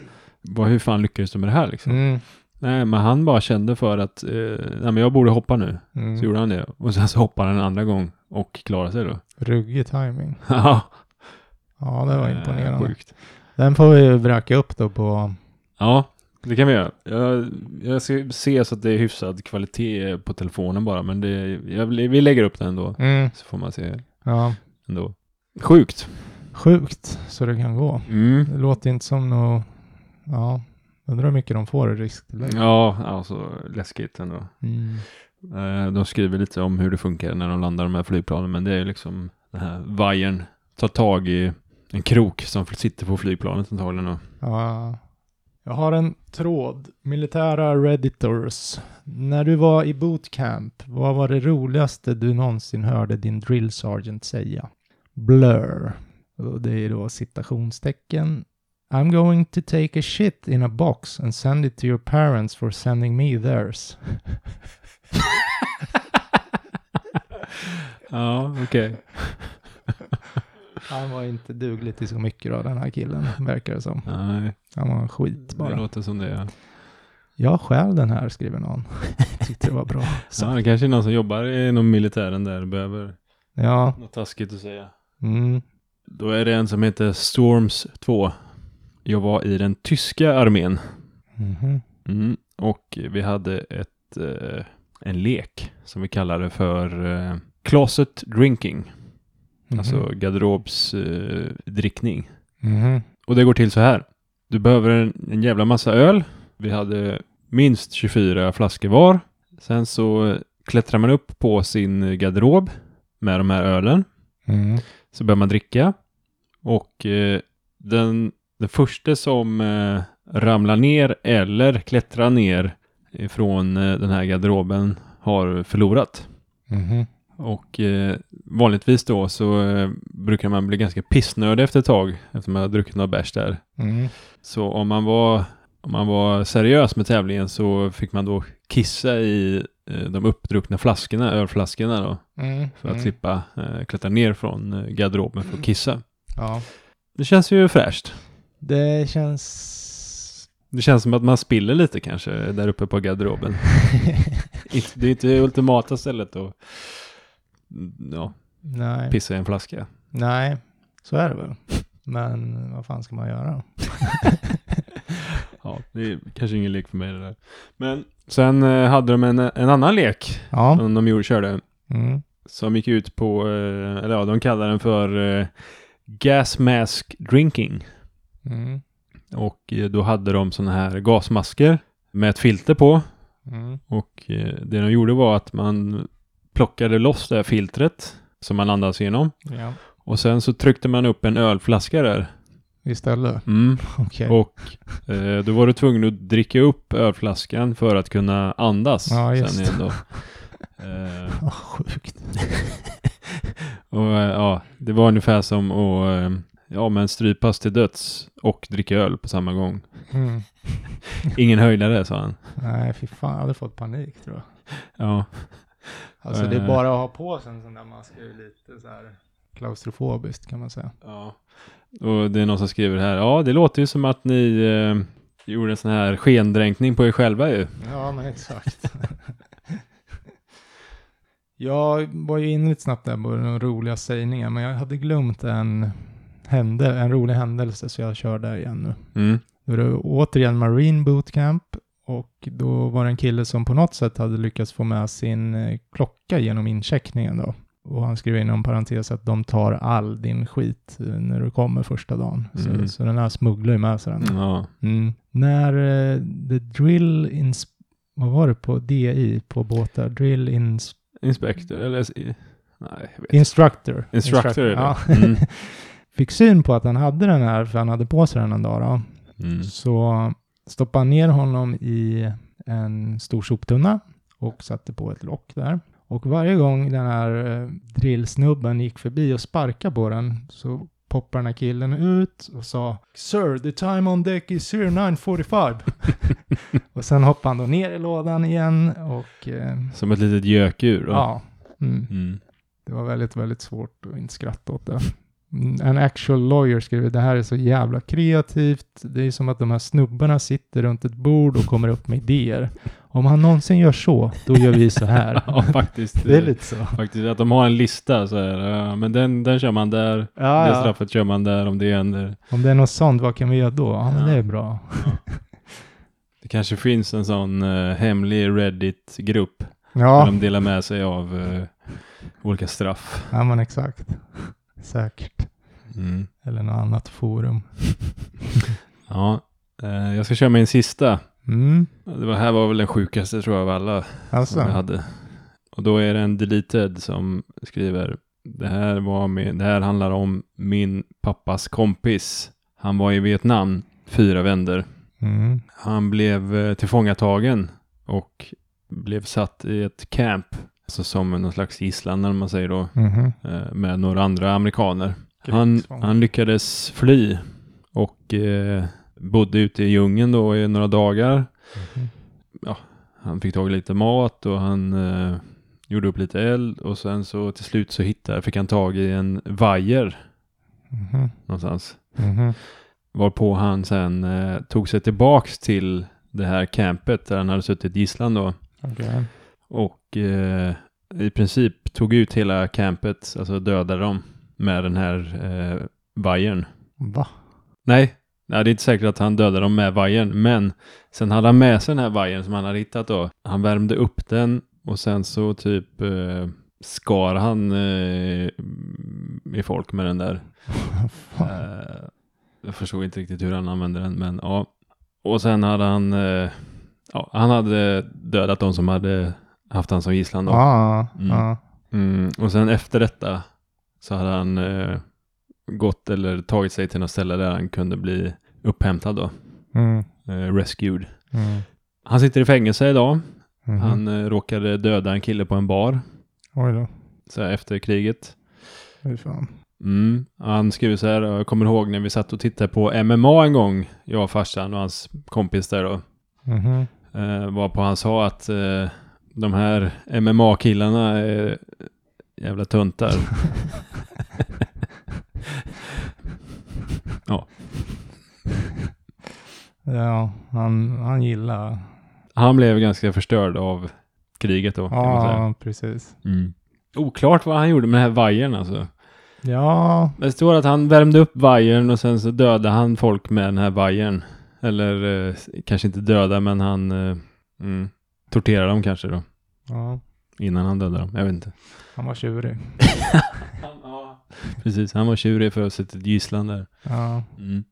B: vad, hur fan lyckades du med det här liksom?
A: Mm.
B: Nej, men han bara kände för att, eh, nej men jag borde hoppa nu.
A: Mm.
B: Så gjorde han det. Och sen så hoppade han en andra gång och klarade sig då.
A: Ruggig timing.
B: Ja,
A: Ja, det var imponerande.
B: Eh, Sjukt.
A: Den får vi ju vräka upp då på...
B: Ja, det kan vi göra. Jag, jag ska se så att det är hyfsad kvalitet på telefonen bara, men det, jag, vi lägger upp den då.
A: Mm.
B: Så får man se
A: Ja,
B: ändå. Sjukt.
A: sjukt så det kan gå.
B: Mm.
A: Det låter inte som något... Ja, undrar hur mycket de får i risktillägg.
B: Ja, alltså läskigt ändå.
A: Mm.
B: Eh, De skriver lite om hur det funkar när de landar de här flygplanen, men det är ju liksom den här vajern tar tag i en krok som sitter på flygplanet antagligen. och-
A: Ja. Jag har en tråd. Militära redditors. När du var i bootcamp, vad var det roligaste du någonsin hörde din drill sergeant säga? Blur. Och det är då citationstecken. I'm going to take a shit in a box and send it to your parents for sending me theirs.
B: Ja, okej.
A: Han var inte duglig till så mycket då, den här killen, verkar det som.
B: Nej,
A: Han var skit
B: det
A: bara.
B: låter som det. Ja.
A: Jag stjäl den här, skriver någon. Tyckte det var bra.
B: Ja, det kanske är någon som jobbar inom militären där och behöver
A: Ja.
B: något taskigt att säga.
A: Mm.
B: Då är det en som heter Storms 2. Jag var i den tyska armén
A: Mhm.
B: mm. och vi hade ett, eh, en lek som vi kallade för eh, closet drinking,
A: Mm-hmm.
B: alltså garderobsdrickning. Eh, drickning.
A: Mhm.
B: och det går till så här. Du behöver en, en jävla massa öl. Vi hade minst 24 flaskor var. Sen så eh, klättrar man upp på sin garderob med de här ölen.
A: Mm.
B: Så börjar man dricka. Och eh, den, den första som eh, ramlar ner eller klättrar ner från eh, den här garderoben har förlorat.
A: Mhm.
B: Och eh, vanligtvis då så eh, brukar man
A: Mm-hmm.
B: bli ganska pissnödig efter ett tag. Efter man har druckit några bärs där.
A: Mm.
B: Så om man var om man var seriös med tävlingen så fick man då kissa i eh, de uppdruckna flaskorna, ölflaskorna då,
A: Mm,
B: för att
A: mm.
B: slippa eh, klättra ner från eh, garderoben för att kissa.
A: Ja.
B: Det känns ju fräscht.
A: Det känns...
B: Det känns som att man spiller lite kanske där uppe på garderoben. Inte- det är inte det ultimata stället att mm, ja,
A: Nej.
B: pissa i en flaska.
A: Nej, så är det väl. Men vad fan ska man göra?
B: Ja, det är kanske ingen lek för mig det där. Men sen eh, hade de en, en annan lek
A: Ja.
B: som de gjorde, körde.
A: Mm.
B: Som gick ut på, eh, eller ja, de kallar den för eh, gas mask drinking.
A: Mm.
B: Och eh, då hade de sådana här gasmasker med ett filter på.
A: Mm.
B: Och eh, det de gjorde var att man plockade loss det här filtret som man andas genom.
A: Ja.
B: Och sen så tryckte man upp en ölflaska där.
A: Istället.
B: Mm.
A: Okej.
B: Och eh, då var du tvungen att dricka upp ölflaskan för att kunna andas.
A: Ja, just
B: sen igen då. Eh,
A: Vad sjukt.
B: och, eh, ja, det var ungefär som att eh, ja, men strypas till döds och dricka öl på samma gång.
A: Mm.
B: Ingen höjdare, sa han.
A: Nej, fy fan. Jag hade fått panik tror jag.
B: Ja,
A: Alltså det
B: Eh.
A: är bara att ha på sig en sån där mask är ju lite så här klaustrofobiskt kan man säga.
B: ja. Och det är någon som skriver här, ja, det låter ju som att ni eh, gjorde en sån här skendränkning på er själva ju.
A: Ja, men exakt. jag var ju inne lite snabbt där på de roliga sägningar, men jag hade glömt en, händel, en rolig händelse så jag kör där igen nu.
B: Mm.
A: Då är det återigen Marine Bootcamp och då var det en kille som på något sätt hade lyckats få med sin eh, klocka genom incheckningen då. Och han skrev inom parentes att de tar all din skit eh, när du kommer första dagen.
B: Mm.
A: Så, så den här smugglar ju med sig den.
B: Ja.
A: Mm. När eh, the drill ins... Vad var det på DI på båtar? Drill ins...
B: Inspektor, eller? s- i- Nej, jag vet inte.
A: Instructor.
B: Instructor, är det.
A: Ja.
B: Mm.
A: Fick syn på att han hade den här, för han hade på sig den en dag då.
B: Mm.
A: Så stoppade han ner honom i en stor soptunna och satte på ett lock där. Och varje gång den här eh, drillsnubben gick förbi och sparkade på den så poppade den här killen ut och sa Sir, the time on deck is 09.45. och sen hoppade han då ner i lådan igen och eh,
B: Som ett litet gökur. då.
A: ja, mm,
B: Mm.
A: det var väldigt, väldigt svårt att inte skratta åt det. Mm, En actual lawyer skriver det här är så jävla kreativt. Det är som att de här snubbarna sitter runt ett bord och kommer upp med idéer. Om han någonsin gör så, då gör vi så här.
B: ja, faktiskt. eh,
A: det är lite så.
B: Faktiskt att de har en lista så här. ja, men den, den kör man där.
A: Ja,
B: Det
A: ja.
B: straffet kör man där om det händer.
A: Om det är något sånt, vad kan vi göra då? Ja, men
B: Ja.
A: det är bra.
B: Det kanske finns en sån eh, hemlig Reddit-grupp. Där
A: Ja,
B: de delar med sig av eh, olika straff.
A: ja men exakt. Säkert.
B: Mm.
A: Eller något annat forum.
B: Ja, eh, jag ska köra min sista.
A: Mm,
B: Det var, här var väl den sjukaste tror jag av alla som jag
A: alltså.
B: hade. Och då är det en deleted som skriver. Det här, var med, det här handlar om min pappas kompis. Han var i Vietnam fyra vänder.
A: Mm,
B: Han blev eh, tillfångatagen och blev satt i ett camp, alltså som någon slags gisslan om man säger då,
A: mhm.
B: eh, med några andra amerikaner. Han,
A: Krigsfånge.
B: han lyckades fly och eh, bodde ute i djungeln då i några dagar.
A: Mhm.
B: Han fick tag i lite mat och han eh, gjorde upp lite eld och sen så till slut så hittade, fick han tag i en vajer
A: Mhm.
B: någonstans.
A: Mhm.
B: Varpå han sen eh, tog sig tillbaks till det här campet där han hade suttit gisslan då.
A: Okej.
B: Och eh, i princip tog ut hela campet, alltså dödade dem med den här eh, vajern.
A: Va?
B: Nej, nej, det är inte säkert att han dödade dem med vajern, men sen hade han med sig den här vajern som han hade hittat då. Han värmde upp den och sen så typ eh, skar han eh, i folk med den där.
A: Fan.
B: Eh, jag förstod inte riktigt hur han använde den, men ja. Och sen hade han, eh, ja, han hade dödat de som hade haft han som gisslan då.
A: Ja,
B: Mm.
A: ja.
B: Mm, och sen efter detta så hade han eh, gått eller tagit sig till något ställe där han kunde bli upphämtad då.
A: Mm.
B: Eh, rescued.
A: Mm.
B: Han sitter i fängelse idag.
A: Mhm.
B: Han eh, råkade döda en kille på en bar
A: Oj då.
B: så här, efter kriget.
A: Fy fan.
B: Mm. Han skriver så här, jag kommer ihåg när vi satt och tittade på MMA en gång, jag och farsan och hans kompis där då.
A: Mhm.
B: Eh, varpå han sa att eh, de här MMA-killarna är jävla tuntar.
A: Ja, han, han gillar...
B: Han blev ganska förstörd av kriget då. Kan man säga.
A: Ja, precis.
B: Mm. Oklart vad han gjorde med den här vajern alltså.
A: Ja,
B: Det står att han värmde upp vajern och sen så dödade han folk med den här vajern. Eller eh, kanske inte döda men han eh, mm, torterade dem kanske då.
A: ja,
B: Innan han dödade dem. Jag vet inte.
A: han var tjurig.
B: Precis, han var tjurig för att ha suttit gisslan där.
A: Ja.
B: Mm.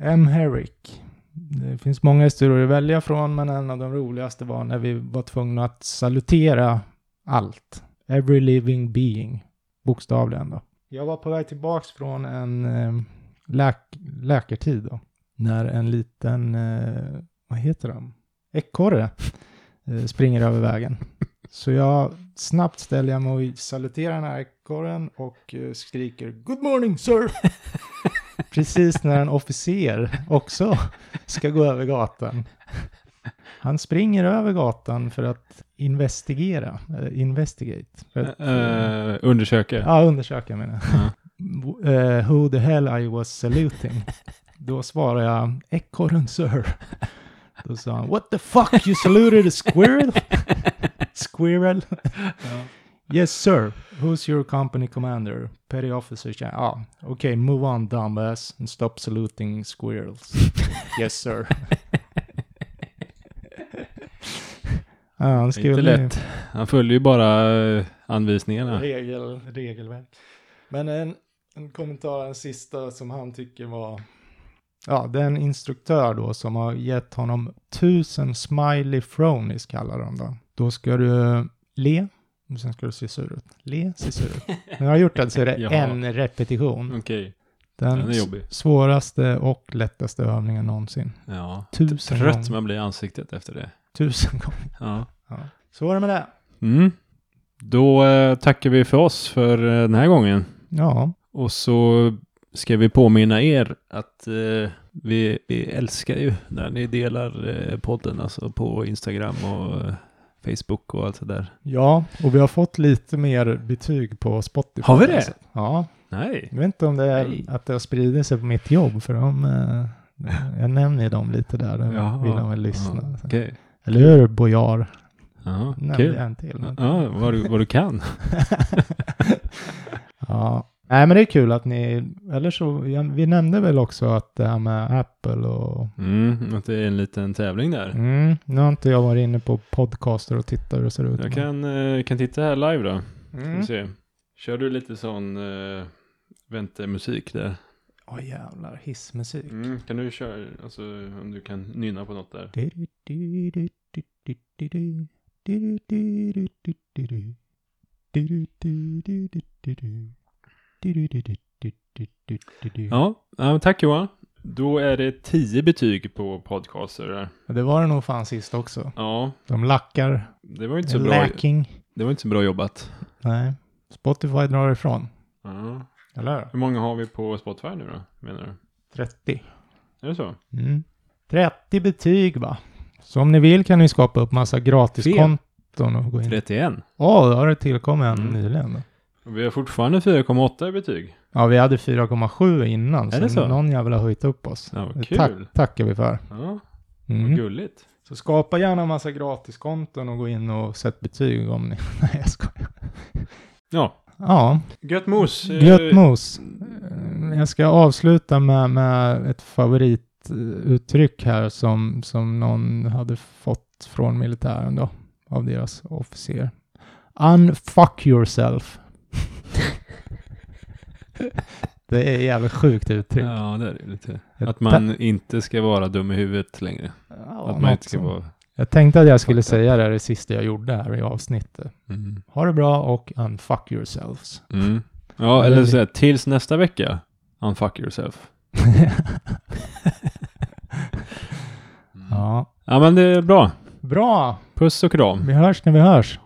A: M. Herrick. Det finns många historier att välja från, men en av de roligaste var när vi var tvungna att salutera allt. Every living being. Bokstavligen då. Jag var på väg tillbaks från en eh, läk- läkartid då. När en liten, eh, vad heter de? Ekorre eh, springer över vägen. Så jag snabbt ställer jag mig och saluterar den här ekorren och eh, skriker Good morning sir! Precis när en officer också ska gå över gatan. Han springer över gatan för att investigera, eh, investigate. För att, eh,
B: Eh, undersöka.
A: Ja, undersöka menar jag. W- eh, who the hell I was saluting. Då svarade jag ekorren sir. Då sa han what the fuck you saluted a squirrel? squirrel? yes sir. Who's your company commander? Petty officer. Ja, ah, okej okay, move on dumbass and stop saluting squirrels. yes sir. Ja, han skrev
B: Inte
A: ner.
B: lätt. Han följde ju bara eh, anvisningarna.
A: Regel, regelverk. Men en, en kommentar, en sista som han tycker var... Ja, det är en instruktör då som har gett honom tusen smiley fronies kallar de dem. Då ska du le, och sen ska du se sur ut. Le, se sur ut. När jag har gjort det så är det
B: Jaha.
A: en repetition.
B: Okej,
A: Den,
B: den är jobbig.
A: svåraste och lättaste övningen någonsin.
B: Ja.
A: Tusen
B: Trött
A: gånger.
B: man blir i ansiktet efter det.
A: Tusen gånger.
B: Ja.
A: Så var det med det.
B: Mm. Då eh, tackar vi för oss för eh, den här gången.
A: Ja,
B: Och så ska vi påminna er att eh, vi, vi älskar ju när ni delar eh, podden alltså på Instagram och eh, Facebook och allt det där.
A: ja, och vi har fått lite mer betyg på Spotify.
B: Har vi det?
A: alltså. Ja,
B: Nej.
A: Jag vet inte om det är
B: Nej.
A: att det har spridit sig på mitt jobb, för de, eh, jag nämner ju dem lite där, de
B: Jaha.
A: vill de väl lyssna.
B: Okej.
A: Eller hur, Bojar?
B: Ja,
A: Nämnde
B: kul.
A: jag en till. Men...
B: Ja, vad du, vad du kan.
A: ja. Nej, men det är kul att ni, eller så, ja, vi nämnde väl också att det här med Apple och,
B: Mm, att det är en liten tävling där.
A: mm, nu har inte jag varit inne på podcaster och tittat hur det ser ut.
B: Jag kan, eh, kan titta här live då. Ska vi
A: Mm.
B: se. Kör du lite sån eh, väntemusik där?
A: Åh jävlar, hissmusik.
B: Mm, kan du köra, alltså om du kan nynna på något där? Ja, ja, men tack Johan. Då är det 10 betyg på podcaster där.
A: Det var det nog fan sist också.
B: Ja,
A: De lackar.
B: det var ju inte så bra,
A: Lacking.
B: det var inte så bra jobbat.
A: Nej. Spotify drar ifrån.
B: Ja.
A: Eller
B: Hur många har vi på Spotify nu då, menar du?
A: 30.
B: Är det så?
A: Mm. 30 betyg va? Så om ni vill kan ni skapa upp massa gratiskonton och gå in.
B: 31.
A: Åh, då har det tillkommit en
B: Mm.
A: nyligen. Då.
B: Och vi har fortfarande 4,8 i betyg.
A: Ja, vi hade 4,7 innan.
B: Är det så?
A: någon jävla har höjt upp oss.
B: Ja, vad
A: Det
B: kul.
A: Tack, tackar vi för.
B: Ja,
A: Mm.
B: vad gulligt.
A: Så skapa gärna en massa gratiskonton och gå in och sätt betyg om ni... Nej, jag skojar.
B: Ja,
A: Ja,
B: gött mos. eh,
A: glött mos. Eh, Jag ska avsluta med, med ett favorituttryck här som, som någon hade fått från militären då, av deras officer. Unfuck yourself. det är jävligt sjukt uttryck.
B: Ja, det är det ju lite.
A: Ett
B: Att man inte ska vara dum i huvudet längre.
A: Ja,
B: Att man
A: något
B: inte ska
A: sånt.
B: vara...
A: Jag tänkte att jag skulle
B: Fuck that.
A: säga det här det sista jag gjorde här i avsnittet.
B: Mm.
A: Ha det bra och unfuck yourselves.
B: Mm. Ja, eller så här, tills nästa vecka, unfuck yourself.
A: ja.
B: Ja, men det är bra.
A: Bra!
B: Puss och kram.
A: Vi hörs när vi hörs.